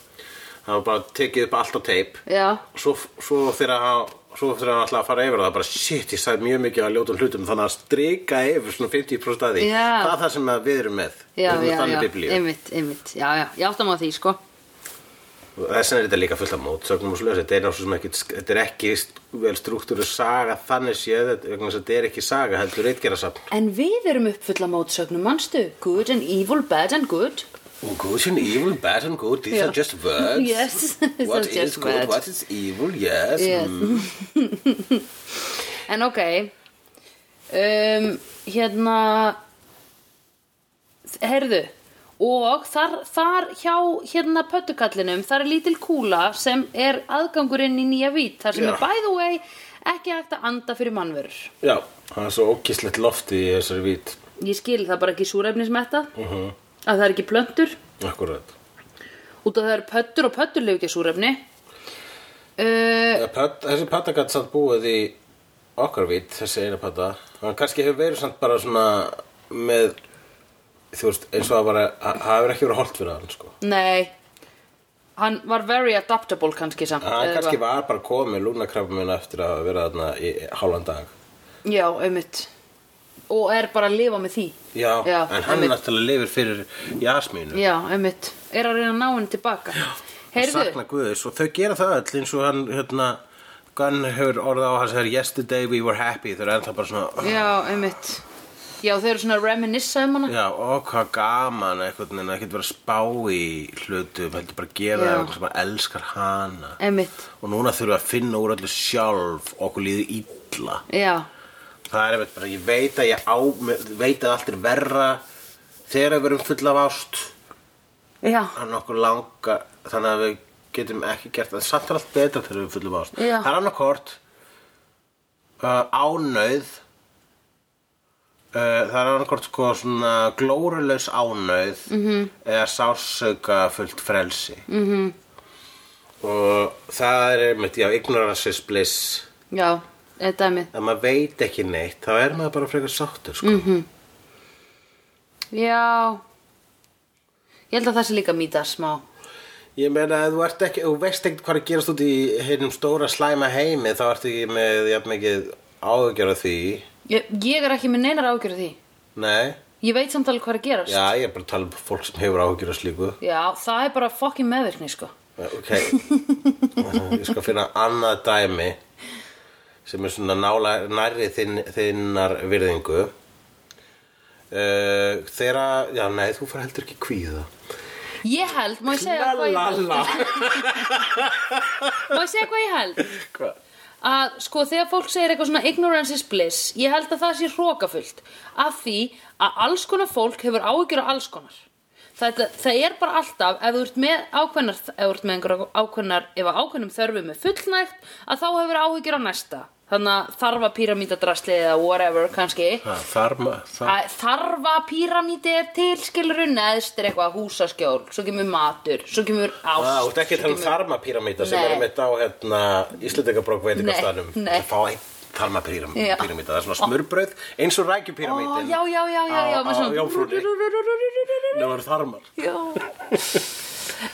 Speaker 1: hann var bara tekið upp allt á teip
Speaker 3: já
Speaker 1: svo, svo þegar hann svo þegar hann ætlaði að fara yfir það bara shit, ég sagði mjög mikið að ljótum hlutum þannig að strika yfir svona 50% að því
Speaker 3: Já.
Speaker 1: það er það sem að við erum með
Speaker 3: Já,
Speaker 1: Við erum
Speaker 3: já,
Speaker 1: með þannig
Speaker 3: já,
Speaker 1: biblíu.
Speaker 3: einmitt, einmitt Já, já, ég átta maður því, sko
Speaker 1: þess vegna er þetta líka fullt af mótsögnum og slösa þetta er náttúrulega sem ekki, þetta er ekki st- vel struktúru saga þannig séð þetta- vegna þess að þetta er ekki saga heldur reitgerðasafn
Speaker 3: En við erum uppfulla mótsögnum, manstu? Good and evil, bad and good.
Speaker 1: oh, good and evil, bad and good, these
Speaker 3: Já.
Speaker 1: are just words
Speaker 3: Yes, these
Speaker 1: what
Speaker 3: are
Speaker 1: is
Speaker 3: just
Speaker 1: good,
Speaker 3: words.
Speaker 1: what is evil, yes, Mm.
Speaker 3: Yes. en ok, um, hérna, herðu, og þar, þar hjá hérna pöttukallinum, þar er lítil kúla sem er aðgangurinn í nýja vít, þar sem
Speaker 1: Já.
Speaker 3: er by the way ekki hægt að anda fyrir mannverur.
Speaker 1: já, það er svo ókislegt lofti í þessari vít
Speaker 3: Ég skil það bara ekki súrefnismetta, að það er ekki plöntur.
Speaker 1: akkurat
Speaker 3: út af það eru pöttur og pöttur leif ekki súrefni uh,
Speaker 1: Ja, pöt, þessi patta gæti samt búið í okkar vít, þessi eina patta hann kannski hefur verið samt bara svona með þú veist, eins og að bara hann hann hefur ekki verið holt fyrir hann sko.
Speaker 3: nei hann var very adaptable kannski samt
Speaker 1: hann
Speaker 3: eða
Speaker 1: Ah, kannski
Speaker 3: eitthvað.
Speaker 1: var bara komið lúnakrafum minna eftir að vera þarna í hálfan dag
Speaker 3: já, einmitt og er bara að lifa með því
Speaker 1: já,
Speaker 3: já
Speaker 1: en hann
Speaker 3: einmitt.
Speaker 1: náttúrulega lifir fyrir jasmínu
Speaker 3: já, einmitt, er að reyna að ná henni tilbaka heyrðu,
Speaker 1: sakna Guðs og þau gera það öll eins og hann hérna, Gunn hefur orða á hans þegar yesterday we were happy þau eru ennþá bara svona
Speaker 3: já, einmitt já, þau eru svona að reminisce um hana
Speaker 1: Já, og hvað gaman einhvern veginn að ekkert vera að spá í hlutum, heldur bara að gera
Speaker 3: Já.
Speaker 1: það eitthvað sem að elskar hana.
Speaker 3: einmitt,
Speaker 1: Og núna þurfum við að finna úr öllu sjálf, okkur líður illa.
Speaker 3: já
Speaker 1: Það er einmitt bara, ég veit að ég á, veit að allt er verra þegar við erum full af ást,
Speaker 3: já,
Speaker 1: hann okkur langa, þannig að við getum ekki gert það, samt er allt betra þegar við erum full af ást.
Speaker 3: Já.
Speaker 1: Það er annarkort, uh, ánauð, Uh, það er annarkort sko svona glórulaus ánauð -hmm. eða sársauka fullt frelsi -hmm. og það er einmitt, já, ignorance is bliss
Speaker 3: já, þetta er mið
Speaker 1: ef maður veit ekki neitt þá er maður bara frekar sáttur sko.
Speaker 3: já ég held að það sé líka mýta smá
Speaker 1: ég meina ef þú, ert ekki, þú veist ekkert hvað er að gerast út í hennum stóra slæma heimi þá ertu ekki með jafn mikið áhugjara því
Speaker 3: ég, ég er ekki með neinar ágjörð því
Speaker 1: nei,
Speaker 3: ég veit samt alveg hvað er að gerast
Speaker 1: já ég er bara að tala um fólk sem hefur áhugjara slíku
Speaker 3: Já, það er bara fokkin meðvirkni sko
Speaker 1: Ok, ég skal finna annað dæmi sem er svona nála, nærri þinn, þinnar virðingu. Uh, þeirra, já nei, þú fara heldur ekki kvíða.
Speaker 3: Ég held, má ég segja hvað ég held Má ég segja hvað ég held
Speaker 1: Hva?
Speaker 3: að sko þegar fólk segir eitthvað svona ignorance is bliss ég held að það sé hrókafullt af því að alls konar fólk hefur áhyggjur af alls konar það, það er bara alltaf ef þú ert með ákveðnar ef þú ert með einhver ákveðnar ef að ákveðnum þörfum er fullnægt að þá hefur áhyggjur af næsta þannig að þarfa píramítadrasli eða whatever kannski
Speaker 1: Ha, Þar, ma- þar,
Speaker 3: Að þarfa píramíti er til skilurinn neðst er eitthvað húsaskjól svo kemur matur, svo kemur ást
Speaker 1: á, þú ert ekki að tala um
Speaker 3: svo kemur-
Speaker 1: þarmapíramíta sem
Speaker 3: Nei.
Speaker 1: er mitt á hérna Íslandingabrók veit
Speaker 3: Nei,
Speaker 1: eitthvað stannum.
Speaker 3: nei.
Speaker 1: Fá einn
Speaker 3: Já.
Speaker 1: þarmapíramíta, það er svona smurbröð eins og
Speaker 3: Ó,
Speaker 1: rækjupíramítin.
Speaker 3: já, já, já, já, já,
Speaker 1: Á- á Jómfrúnni.
Speaker 3: Jómfrúni
Speaker 1: Nú eru þarmar.
Speaker 3: Já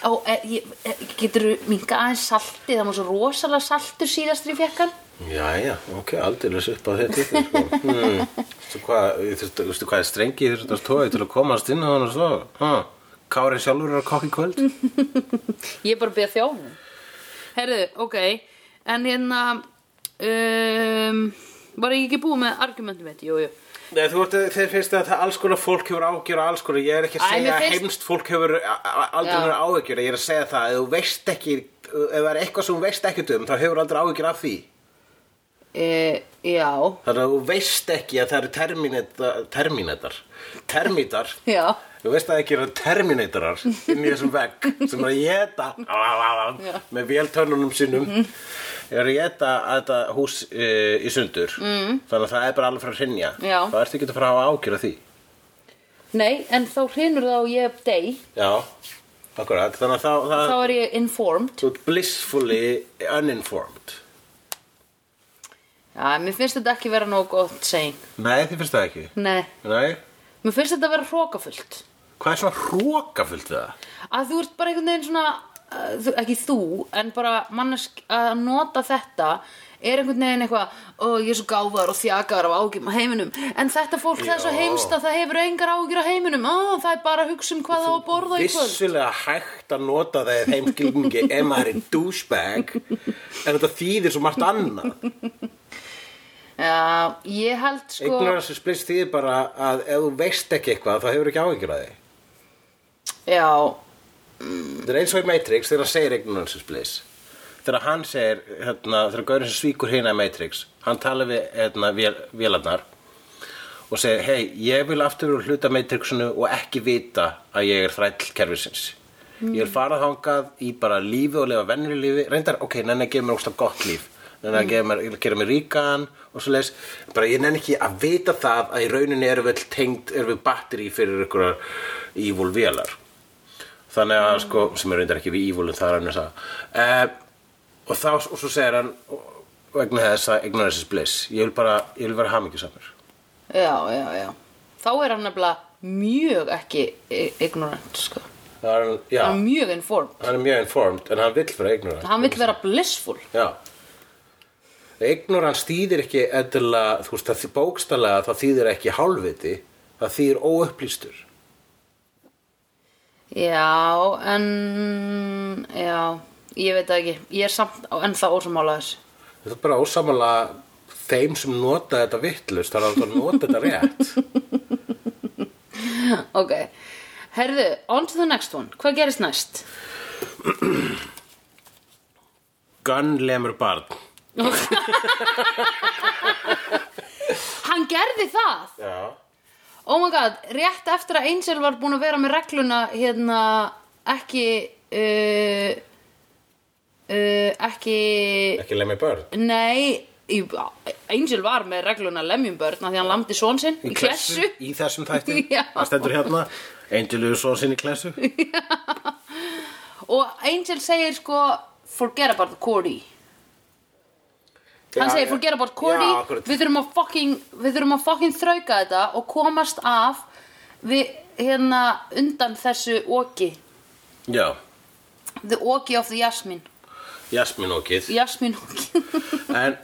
Speaker 3: Ó, e, ég, e, getur þú minga aðeins saltið það var svo rosalega saltur síðast í fekkan
Speaker 1: Jæja, ok, aldeilis upp á þetta ykkur, sko. hmm. Veistu hvað, ég þurfti- veistu hvað er strengi þurfti að tói til að komast inn á hann og svo ha. Kári sjálfur er að kokka í kvöld
Speaker 3: Ég er bara að byrja þjónum Herðu, ok En hérna um, Var ég ekki búið með argumentum þetta? Jú, jú
Speaker 1: Nei, þú ert, þeir finnst að það alls konar fólk hefur ágjör og alls konar, ég er ekki að
Speaker 3: Æ,
Speaker 1: segja
Speaker 3: mér
Speaker 1: að
Speaker 3: finnst-
Speaker 1: heimst fólk hefur aldrei
Speaker 3: Já.
Speaker 1: verið ágjör, ég er að segja það ef þú veist ekki, ef það er eitthvað sem þú veist ekkert um, þá hefur aldrei ágjör af því
Speaker 3: e, Já,
Speaker 1: þannig að þú veist ekki að það eru terminator, terminator, termitar
Speaker 3: já
Speaker 1: Þú veist að það ekki eru Terminatorar inn í þessum vegg sem eru að geta á, á, á, á, með véltönunum sínum eru að geta þetta hús uh, í sundur mm. þannig að það er bara alveg frá að hrynja
Speaker 3: Já.
Speaker 1: þá ertu ekki að fara að hafa ágjörð af því
Speaker 3: Nei, en þá hrinur það og ég er dey
Speaker 1: Já, akkurat þannig að þá, það,
Speaker 3: Þá er ég informed
Speaker 1: þú ert blissfully uninformed
Speaker 3: Já, mér finnst þetta ekki vera nógu gott segin
Speaker 1: Nei, þið finnst það ekki
Speaker 3: Nei,
Speaker 1: Nei,
Speaker 3: mér finnst þetta vera hrókafullt
Speaker 1: hvað er svona hrókafullt við það?
Speaker 3: að þú ert bara einhvern veginn svona uh, þú, ekki þú, en bara mannesk að nota þetta er einhvern veginn eitthvað, ó ég er svo gáfaður og þjakaður af ágjum á heiminum en þetta fólk það er svo
Speaker 1: Já.
Speaker 3: heimst að það hefur engar ágjur á heiminum, ó það er bara að hugsa um hvað það á að borða í kvöld
Speaker 1: vissulega hægt að nota það í þeim skilningi ef maður er douchebag en þetta þýðir svo margt annað
Speaker 3: Já, ég held sko
Speaker 1: Ignorance is bliss þýðir bara að ef þú veist ekki eitthvað þá hefur ekki áhyggjur að því.
Speaker 3: Já,
Speaker 1: Þetta er eins og í Matrix þegar hann segir ignorance is bliss. Þegar hann segir, hérna, þegar gaurinn sem svíkur hérna í Matrix, hann talar við hérna, vél, vélarnar og segir, hei, ég vil aftur vera hluta Matrixinu og ekki vita að ég er þræll kerfisins. Ég vil fara þangað í bara lífi og lifa vennri lífi, reyndar, ok, nenni að gefa mér óslega gott líf, nenni að gefa mér, gera mér ríkan og svo leis, bara ég nenni ekki að vita það að í rauninni erum við öll tengd, erum við batteri fyrir ykkur evil vélar þannig að sko, sem er reyndar ekki við ívúlum það er hann að sagða og þá, og svo segir hann og- vegna þess að ignorance is bliss ég vil bara, ég vil vera hamingjusamur
Speaker 3: já, já, já þá er hann nefnilega mjög ekki i- ignorant sko,
Speaker 1: það er hann, já,
Speaker 3: hann er mjög informed
Speaker 1: hann er mjög informed en hann vill vera ignorant
Speaker 3: hann vill vera blissful
Speaker 1: já ignorance þýðir ekki eðla, þú veist, það þý- bókstallega það þýðir ekki hálfviti það þýðir óupplýstur
Speaker 3: Já, en já, ég veit það ekki ég er samt á ennþá ósamála þess
Speaker 1: þetta er bara ósamanlega þeim sem nota þetta vittlust það er alltaf að nota þetta rétt
Speaker 3: Ok, herðu, on to the next one Hvað gerist næst?
Speaker 1: gunn lemur barn
Speaker 3: Hann gerði það
Speaker 1: já
Speaker 3: Oh my god, rétt eftir að Angel var búin að vera með regluna hérna ekki uh, uh, ekki
Speaker 1: ekki lemur barn
Speaker 3: Nei, Angel var með regluna lemjumbörn af því hann lamdi són sinn í klessu
Speaker 1: Í þessum þætti
Speaker 3: Já.
Speaker 1: Það stendur hérna Angelu svo sinni klessu
Speaker 3: og Angel segir sko forget about Cordy hann
Speaker 1: Já,
Speaker 3: segir
Speaker 1: já.
Speaker 3: forget about
Speaker 1: Já,
Speaker 3: Cordy
Speaker 1: akkurat.
Speaker 3: við þurfum að fucking við þurfum að fucking þrauka þetta og komast af við hérna undan þessu oki
Speaker 1: Já,
Speaker 3: the oki of the Jasmine
Speaker 1: Jasmín og Kið
Speaker 3: Jasmine oki
Speaker 1: En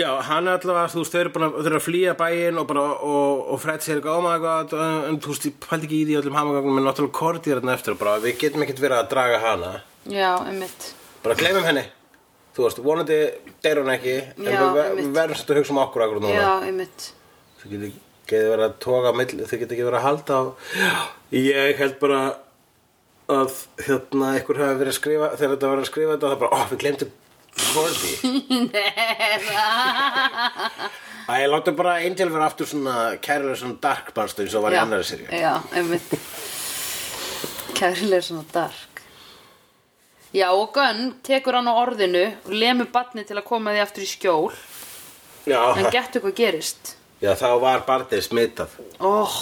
Speaker 1: Já, hann er allavega, þú veist, þau eru bara þau eru að flýja bæinn og bara, og, og Fred segir eitthvað, oh my god, en- en þú veist, ég pældi ekki í því í öllum hamagagnum, en náttúrulega Korti er hérna eftir og bara, við getum ekkert verið að draga hana
Speaker 3: já, einmitt
Speaker 1: bara gleymum henni þú veist, vonandi deyr hún ekki en
Speaker 3: Já,
Speaker 1: við, ver-
Speaker 3: einmitt.
Speaker 1: við verðum svolítið að hugsa um okkur akkur núna
Speaker 3: já, einmitt
Speaker 1: þau getur getur verið að toga á milli, þau getur ekki verið að halda á ég held bara að hérna ykkur hafi verið að skrifa þegar þetta var að skrifa þetta það bara, ó, við glemtum Cordy Æ, látum bara Angel vera aftur svona kærlega svona dark barstu eins og var í
Speaker 3: já,
Speaker 1: annari serju
Speaker 3: já, einmitt kærilega svona dark já, og Gunn tekur hann á orðinu og lemur barni til að koma því aftur í skjól en
Speaker 1: Já,
Speaker 3: gettu hvað gerist
Speaker 1: já, þá var barnið smitað
Speaker 3: oh,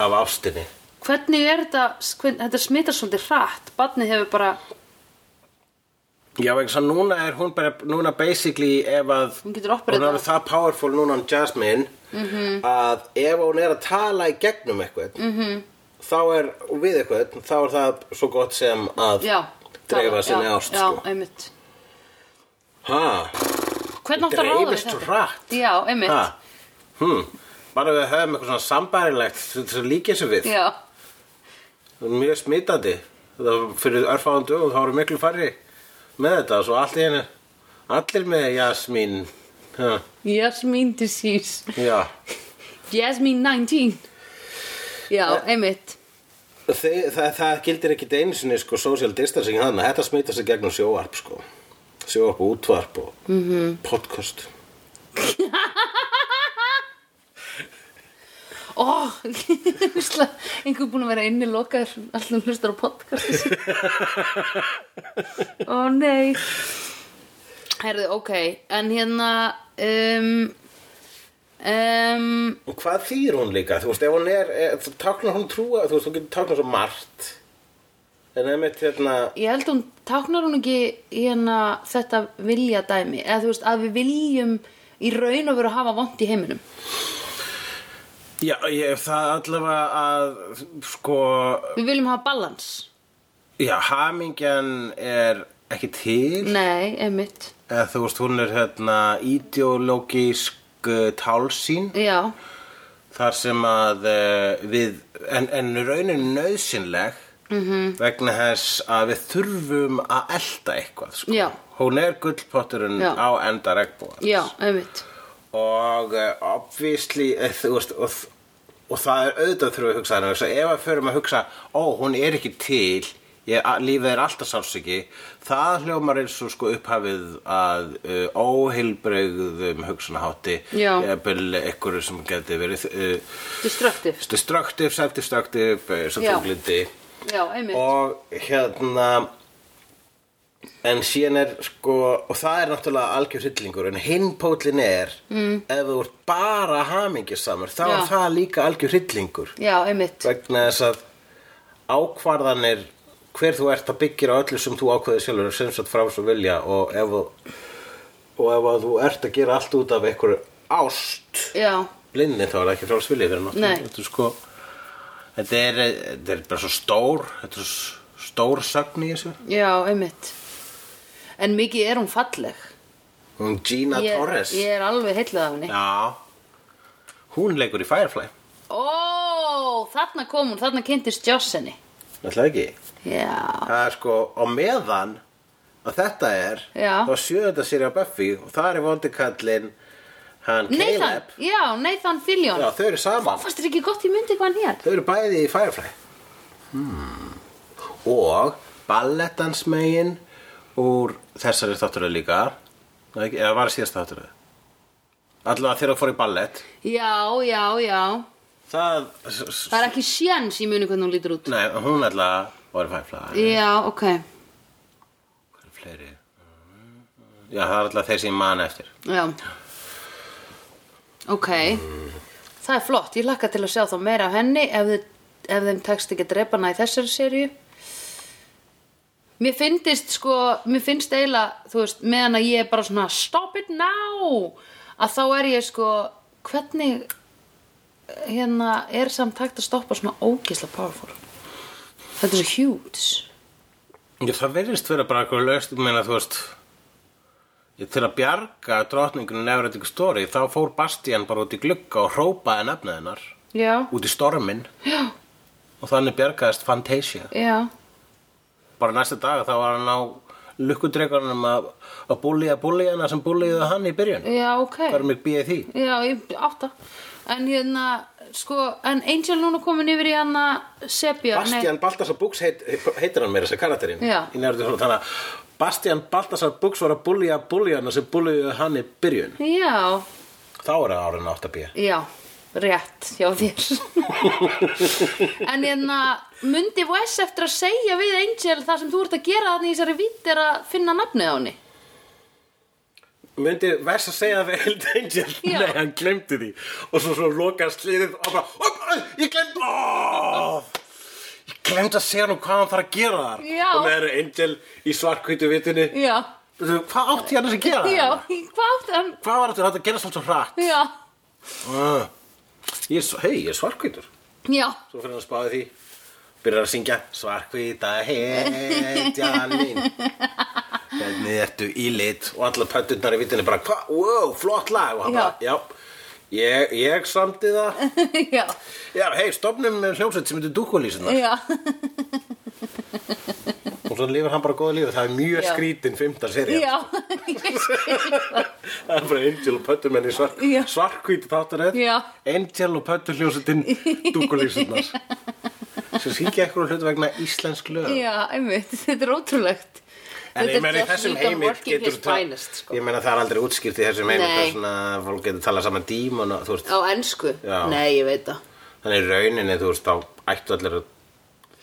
Speaker 1: af ástinni
Speaker 3: hvernig er þetta hvern, þetta smitar svolítið hratt barnið hefur bara,
Speaker 1: Já, vegna þess að núna er hún bara, núna basically ef að
Speaker 3: Hún getur operað Mhm.
Speaker 1: hún er
Speaker 3: það.
Speaker 1: alveg það powerful núna um Jasmine -hmm. að ef hún er að tala í gegnum eitthvað -hmm.
Speaker 3: Mhm.
Speaker 1: þá er, og við eitthvað, þá er það svo gott sem að
Speaker 3: já
Speaker 1: dreifa
Speaker 3: tala,
Speaker 1: sinni
Speaker 3: já,
Speaker 1: ást,
Speaker 3: já,
Speaker 1: sko.
Speaker 3: einmitt
Speaker 1: Ha,
Speaker 3: hvernig átt að ráða við
Speaker 1: dreifist
Speaker 3: þetta?
Speaker 1: rætt.
Speaker 3: já, einmitt
Speaker 1: Ha, hm, bara við höfum eitthvað svona sambærilegt sem sem líkið sem við.
Speaker 3: já,
Speaker 1: Mjög smitandi. Það var fyrir örfáðan dögum, þá eru miklu færri með þetta, svo allt í henni, allir með Jasmine. Ha,
Speaker 3: Jasmine disease
Speaker 1: já.
Speaker 3: Jasmine 19 já, einmitt
Speaker 1: Þe, það, það gildir ekki einu sinni sko, social distancing þannig þetta smita sig gegnum sjóarp sko. sjóarp og útvarp og -hmm. podcast
Speaker 3: Ó, húsla, einhver búin að vera inni lokaður, alltaf hlustar á podcasti sín. Ó, nei. Herðu, ok, en hérna, um, um,
Speaker 1: og hvað þýr hún líka þú veist ef hún er, er þú táknar hún trúa þú veist þú getur táknar svo margt en einmitt hérna
Speaker 3: ég held hún, táknar hún ekki hérna þetta vilja dæmi, eða þú veist, að við viljum í raun og veru hafa vond í heiminum.
Speaker 1: já ég, það allavega að sko
Speaker 3: Við viljum hafa balans.
Speaker 1: já hamingjan er ekki til
Speaker 3: Nei, einmitt,
Speaker 1: eða þú veist hún er hérna ideológísk uh, tálsýn
Speaker 3: já,
Speaker 1: þar sem að uh, við, en, en raunin nöðsynleg
Speaker 3: Mhm.
Speaker 1: -hmm. vegna þess að við þurfum að elda eitthvað sko.
Speaker 3: Já.
Speaker 1: hún er gullpotturinn
Speaker 3: Já.
Speaker 1: á enda regnbúan
Speaker 3: já, einmitt,
Speaker 1: og uh, obviously eh, þú veist, og, og það er auðvitað þurfum við að hugsa þannig vegna þess að ef að förum að hugsa ó, hún er ekki til ég, að, lífið er alltaf sálsiki það hljómar eins og sko upphafið að uh, óheilbreyðum hugsunahátti
Speaker 3: Já.
Speaker 1: eða einhverju sem geti verið uh,
Speaker 3: destructive,
Speaker 1: destructive, self-destructive eh, sem
Speaker 3: Já.
Speaker 1: þú glindi
Speaker 3: já, einmitt.
Speaker 1: og hérna en síðan er sko og það er náttúrulega algjör hryllingur en hinn pólinn er mm. ef þú ert bara hamingjusamur þá
Speaker 3: Já.
Speaker 1: er það líka algjör hryllingur
Speaker 3: Já, einmitt,
Speaker 1: vegna þess að ákvarðanir hver þú ert að byggja á öllu sem þú ákveðið sjálfur sem satt frá svo vilja og ef, þú- og ef að þú ert að gera allt út af einhverju ást
Speaker 3: já,
Speaker 1: blindin þá er það ekki frá svilið fyrir
Speaker 3: Nei.
Speaker 1: náttúrulega þetta er sko þetta er, þetta er bara svo stór þetta er svo stór sögn í þessu
Speaker 3: Já, einmitt En mikið er hún falleg
Speaker 1: hún Gina
Speaker 3: ég,
Speaker 1: Torres
Speaker 3: ég er alveg heillað af henni
Speaker 1: já hún leikur í Firefly
Speaker 3: Ó, þarna kom hún, þarna kynntist Joss henni
Speaker 1: ætlaði ekki
Speaker 3: Já,
Speaker 1: það er sko á meðan að þetta er
Speaker 3: Já.
Speaker 1: þá sjöðunda sér á Buffy og það er vondikallin hann
Speaker 3: Nathan,
Speaker 1: Caleb
Speaker 3: já, Nathan Fillion
Speaker 1: já, þau eru saman
Speaker 3: Fannst þér ekki gott í myndi hvað hann hér?
Speaker 1: þau eru bæði í Firefly hmm. og ballettansmegin úr þessari þátturöð líka Það ekki- eða var það síðast þátturöð allavega þegar þú fór í ballett
Speaker 3: Já, já, já
Speaker 1: það,
Speaker 3: Það er ekki sjens í muni hvernig hún lítur út
Speaker 1: nei, hún allavega var í Firefly
Speaker 3: Já, ok
Speaker 1: Hvað eru fleiri Já, það er alltaf þeir sem ég man eftir.
Speaker 3: Já Ok Það er flott, ég lakka til að sjá þá meira af henni ef, þið, ef þeim tekst ekki að drepa hana í þessari seríu Mér finnst sko Mér finnst eiginlega, þú veist, meðan að ég er bara svona Stop it now að þá er ég sko hvernig hérna er samt takt að stoppa svona ógisla powerful Þetta er svo huge
Speaker 1: Já, það verðist vera bara eitthvað löst, ég meina, þú veist, ég til að bjarga drottningunum nefnir stóri, þá fór Bastian bara út í glugga og hrópaði nafnið hennar,
Speaker 3: Já,
Speaker 1: út í stormin. Já. Og þannig bjargaðist Fantasia.
Speaker 3: já
Speaker 1: Bara næsta dag þá var hann á lukkudreikunum að, að búlíja búlíjana sem búlíjuðu hann í byrjun.
Speaker 3: Já, ok
Speaker 1: Hvað er mér býðið því?
Speaker 3: Já, ég átta En hérna, sko, en Angel núna komin yfir í hana Sepia nei,
Speaker 1: Bastian Baltasar Bux heit, heitir hann meira þessi karakterinn
Speaker 3: Já.
Speaker 1: í nefnir svona þannig að Bastian Baltasar Bux var að búlja búljana sem búljuðu hann í byrjun
Speaker 3: Já,
Speaker 1: þá er það árin 8B
Speaker 3: já, rétt hjá þér En hérna, mundi Wes eftir að segja við Angel það sem þú ert að gera þannig í þessari vitt er að finna nafnið á henni
Speaker 1: myndi vers að segja það við Held Angel
Speaker 3: Já.
Speaker 1: nei hann glemdi því og svo svo lokaði sliðið og bara "Ó, ó, ég glemdi ó, ég glemdi að segja hann hvað hann þarf að gera þar
Speaker 3: Já.
Speaker 1: og með þeirra Angel í svartkvítu vitinu
Speaker 3: Já,
Speaker 1: hvað átti hann að gera
Speaker 3: já,
Speaker 1: þarna?
Speaker 3: hvað átt hann
Speaker 1: hvað var þetta að gera svolítið hratt
Speaker 3: Já,
Speaker 1: Ah. Ég er s- hei ég er svartkvítur
Speaker 3: já,
Speaker 1: Svo fyrir hann að spáði því Byrjar að syngja Svarkvíta hetjan mín Hvernig ertu í lit Og allar pötturnar í vittinni bara Hva? Wow, flott lag Og hann bara, já Ég, ég samdi það
Speaker 3: já,
Speaker 1: Já, hei, stofnum með hljómsveit sem heitir dúkulísunar
Speaker 3: já
Speaker 1: Og svo lifir hann bara góða lífi Það er mjög
Speaker 3: Já.
Speaker 1: skrítin fymta serið
Speaker 3: Já, ég skil
Speaker 1: Það er bara Angel og pötturmenn í svar,
Speaker 3: Já.
Speaker 1: svarkvíti þáttur
Speaker 3: Já.
Speaker 1: Angel og pötturhljómsveitin dúkulísunar Sem syngja eitthvað hlut vegna íslensk lög
Speaker 3: Já, einmitt, þetta er ótrúlegt
Speaker 1: En
Speaker 3: Þetta
Speaker 1: ég
Speaker 3: er
Speaker 1: meina í
Speaker 3: just
Speaker 1: þessum
Speaker 3: Luke
Speaker 1: heimi
Speaker 3: working
Speaker 1: getur
Speaker 3: his
Speaker 1: ta-
Speaker 3: finest, sko.
Speaker 1: Ég meina það er aldrei útskýrt í þessum heimi
Speaker 3: Nei.
Speaker 1: Hvað svona fólk getur talað saman dímon og, þú veist,
Speaker 3: Á ensku?
Speaker 1: Já.
Speaker 3: Nei, ég veit það.
Speaker 1: Þannig í rauninni þú veist þá ættu allir að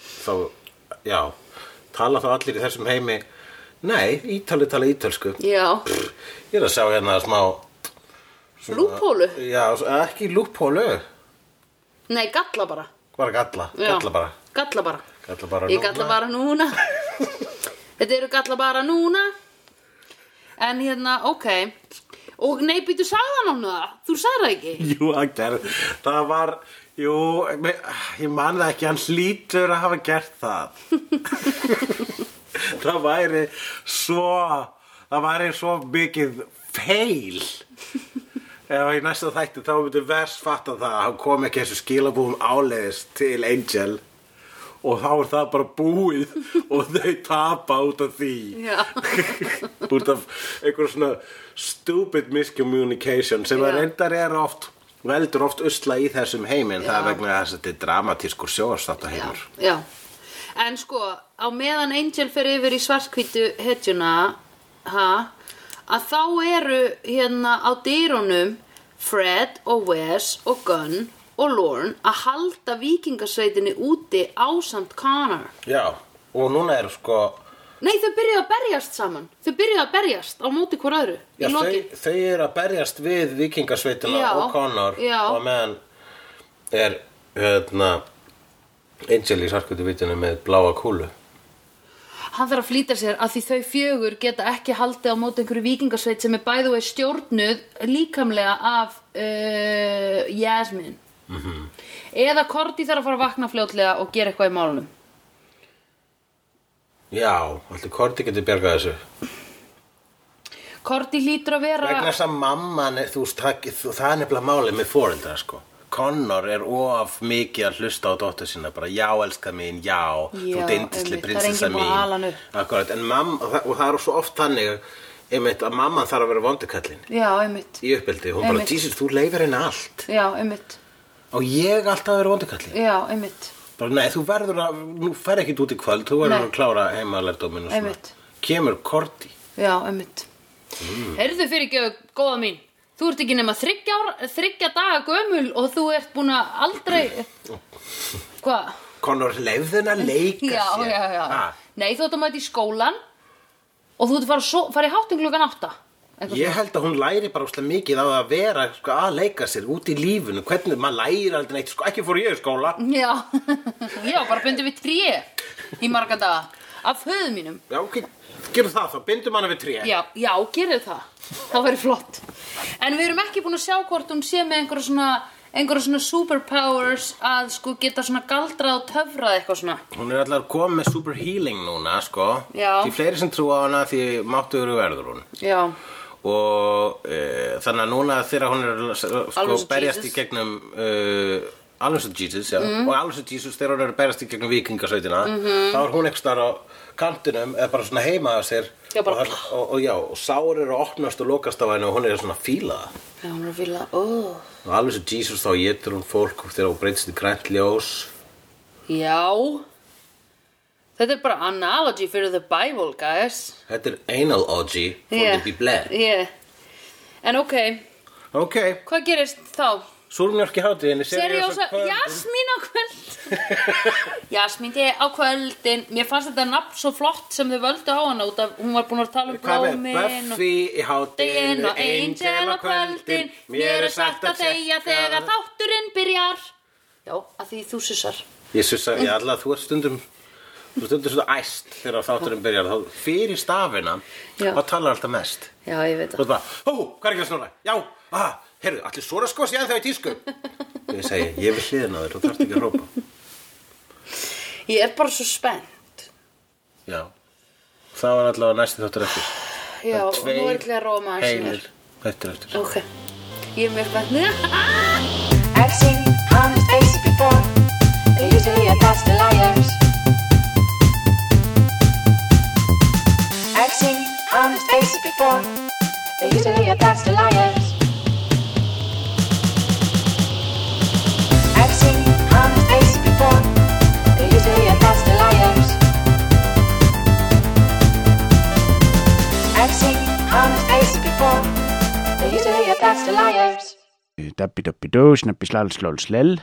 Speaker 1: þá, já tala þá allir í þessum heimi Nei, ítali tala ítölsku
Speaker 3: Já,
Speaker 1: Ég er að sjá hérna smá
Speaker 3: lúpólu?
Speaker 1: Já, s- ekki lúphólu
Speaker 3: Nei, galla bara.
Speaker 1: Bara galla,
Speaker 3: Já.
Speaker 1: galla bara
Speaker 3: Galla bara.
Speaker 1: Galla bara
Speaker 3: Ég galla bara núna. Þetta eru galla bara núna. En hérna, ok. Og nei, býtu sagðan hann það? Þú sagði það ekki?
Speaker 1: Jú, hann gerði Það var, jú, me- ég man það ekki, hann hlýtur að hafa gert það Það væri svo, það væri svo mikið feil Ef í næsta þætti þá myndi vers fatta það að hann kom ekki þessu skilabúum áleiðis til Angel og þá er það bara búið og þau tapa út af því
Speaker 3: Já.
Speaker 1: út af einhver svona stupid miscommunication sem
Speaker 3: Já.
Speaker 1: að reyndar er oft veldur oft usla í þessum heiminn það er vegna þess að þetta er dramatískur sjóðarstata heimur
Speaker 3: Já. En sko, á meðan Angel fer yfir í svartkvítu hetjuna, ha, að þá eru hérna á dýrunum Fred og Wes og Gunn og Lorne að halda vikingasveitinni úti ásamt Connor.
Speaker 1: já, og núna er sko
Speaker 3: Nei, þau byrjuðu að berjast saman. Þau byrjuðu að berjast á móti hver öðru.
Speaker 1: já,
Speaker 3: í
Speaker 1: þau,
Speaker 3: lokin.
Speaker 1: þau eru að berjast við vikingasveitina
Speaker 3: Já,
Speaker 1: og Connor
Speaker 3: já.
Speaker 1: og á meðan er hérna Angel í sarkutu vitinu með bláa kúlu
Speaker 3: Hann þarf að flýta sér að því þau fjögur geta ekki haldið á móti einhverju vikingasveit sem er bæðu veið stjórnuð líkamlega af uh, Jasmine. Eða Korti þarf að fara að vakna fljótlega og gera eitthvað í málunum.
Speaker 1: já, allir Korti getur bjargað þessu
Speaker 3: Korti hlýtur að vera...
Speaker 1: vegna þess að mamman er, þú veist, það, þú- það er nefnilega málið með fóreldra sko Connor er of mikið að hlusta á dóttur sína bara já elska mín, já, þú
Speaker 3: Já,
Speaker 1: dindisli
Speaker 3: einmitt, það er
Speaker 1: prinsessa
Speaker 3: enginn búinn að ala hann
Speaker 1: mín
Speaker 3: upp.
Speaker 1: Akkurat, en mamma, og það- og það er svo oft þannig einmitt að mamman þarf að vera vondukallin
Speaker 3: Já, einmitt.
Speaker 1: í uppeldi, hún bara,
Speaker 3: Einmitt.
Speaker 1: Jesus, þú leifir henni allt
Speaker 3: Já, einmitt.
Speaker 1: og ég alltaf að vera vondukallin
Speaker 3: Já, einmitt.
Speaker 1: bara, nei, þú verður að, nú fer ekki út í kvöld þú verður
Speaker 3: Nei.
Speaker 1: að klára heimalærdómin og svona
Speaker 3: Einmitt.
Speaker 1: kemur Korti
Speaker 3: Já, einmitt. Mm. Herðu fyrir ekki, góða mín. Þú ert ekki nema þryggja, ára- þryggja daga gömul og þú ert búin að aldrei... Hvað?
Speaker 1: Connor leifðin að leika
Speaker 3: Já,
Speaker 1: sér
Speaker 3: já, já.
Speaker 1: Ha,
Speaker 3: Nei, þú ert að mæta í skólan og þú ert að fara, að so fara í hátinn klukkan átta Eitthvað
Speaker 1: Ég held að hún læri bara óslega mikið á að vera sko, að leika sér út í lífinu hvernig maður læri aldrei neitt, sko, ekki fór ég í skóla
Speaker 3: Já, ég var bara bundið við tré í marga daga af höðu mínum.
Speaker 1: Já, ok, gerum það þá, bindum hana við tré
Speaker 3: Já, já, gerðu það. Það væri flott. En við erum ekki búin að sjá hvort hún sé með einhverja svona, einhverja svona superpowers að sko geta svona galdrað og töfrað eitthvað svona.
Speaker 1: Hún er allar komið með super healing núna, sko
Speaker 3: Já.
Speaker 1: Því fleiri sem trúa á hana, því máttuður verður hún
Speaker 3: Já,
Speaker 1: og e, þannig að núna þegar hún er sko,
Speaker 3: Alveg svo
Speaker 1: berjast
Speaker 3: Jesus. Mhm.
Speaker 1: í gegnum uh, alveg svo Jesus já, og alveg svo Jesus þegar hún er að berjast í gegnum vikingasveitina -hmm. þá er hún ekki starf á kantinum eða bara svona heima að sér
Speaker 3: Já, bara-
Speaker 1: og, hann- og, og já, og sár eru að opnast og lokast á henni og hún er svona að fíla það
Speaker 3: já, hún er að fíla, óh.
Speaker 1: og alveg svo Jesus þá getur hún fólk og þegar hún breytist í grænt ljós
Speaker 3: Já Þetta er bara analogy fyrir the Bible, guys
Speaker 1: þetta er analogy for
Speaker 3: Yeah.
Speaker 1: the people
Speaker 3: yeah. En ok,
Speaker 1: ok,
Speaker 3: hvað gerist þá?
Speaker 1: súrmjörki hátíðinni
Speaker 3: Seriósa, Jasmín á kvöld Jasmín þið á kvöldin Mér fannst þetta nafn svo flott sem þau völdu á hana út af Hún var búin að tala um
Speaker 1: Hvað með
Speaker 3: blómin og
Speaker 1: Buffy í hátinn
Speaker 3: deginn og Angel á kvöldin Mér er sagt að deyja þegar þátturinn byrjar Já, að því þú sussar
Speaker 1: Ég sussa, ég ætla að þú ert stundum Þú ert stundum svona æst þegar þátturinn byrjar þá fyrir stafina
Speaker 3: Já.
Speaker 1: þá talar alltaf mest
Speaker 3: Já, ég veit
Speaker 1: Þú ert bara, ó, hvað er ekki að snúna? Já, ah, heyrðu, allir svona sko séðan þau í tísku Ég segi, ég vil hliðina á þér, þú þarft ekki að hrópa
Speaker 3: Ég er bara svo spennt
Speaker 1: Já, það var allavega næsti þáttur eftir
Speaker 3: Já, nú er ekki að róa maður
Speaker 1: heilir eftir eftir
Speaker 3: Ok, ég er mjög spennt
Speaker 7: I've seen honest faces before. They're usually a pass to liars. I've seen honest faces before. They're usually a pass to liars. I've seen honest faces before. They're usually a pass to liars. I've seen honest faces before. They're usually a pass to liars.
Speaker 8: Dabbi dabbi dó, snabbi slal slal slel.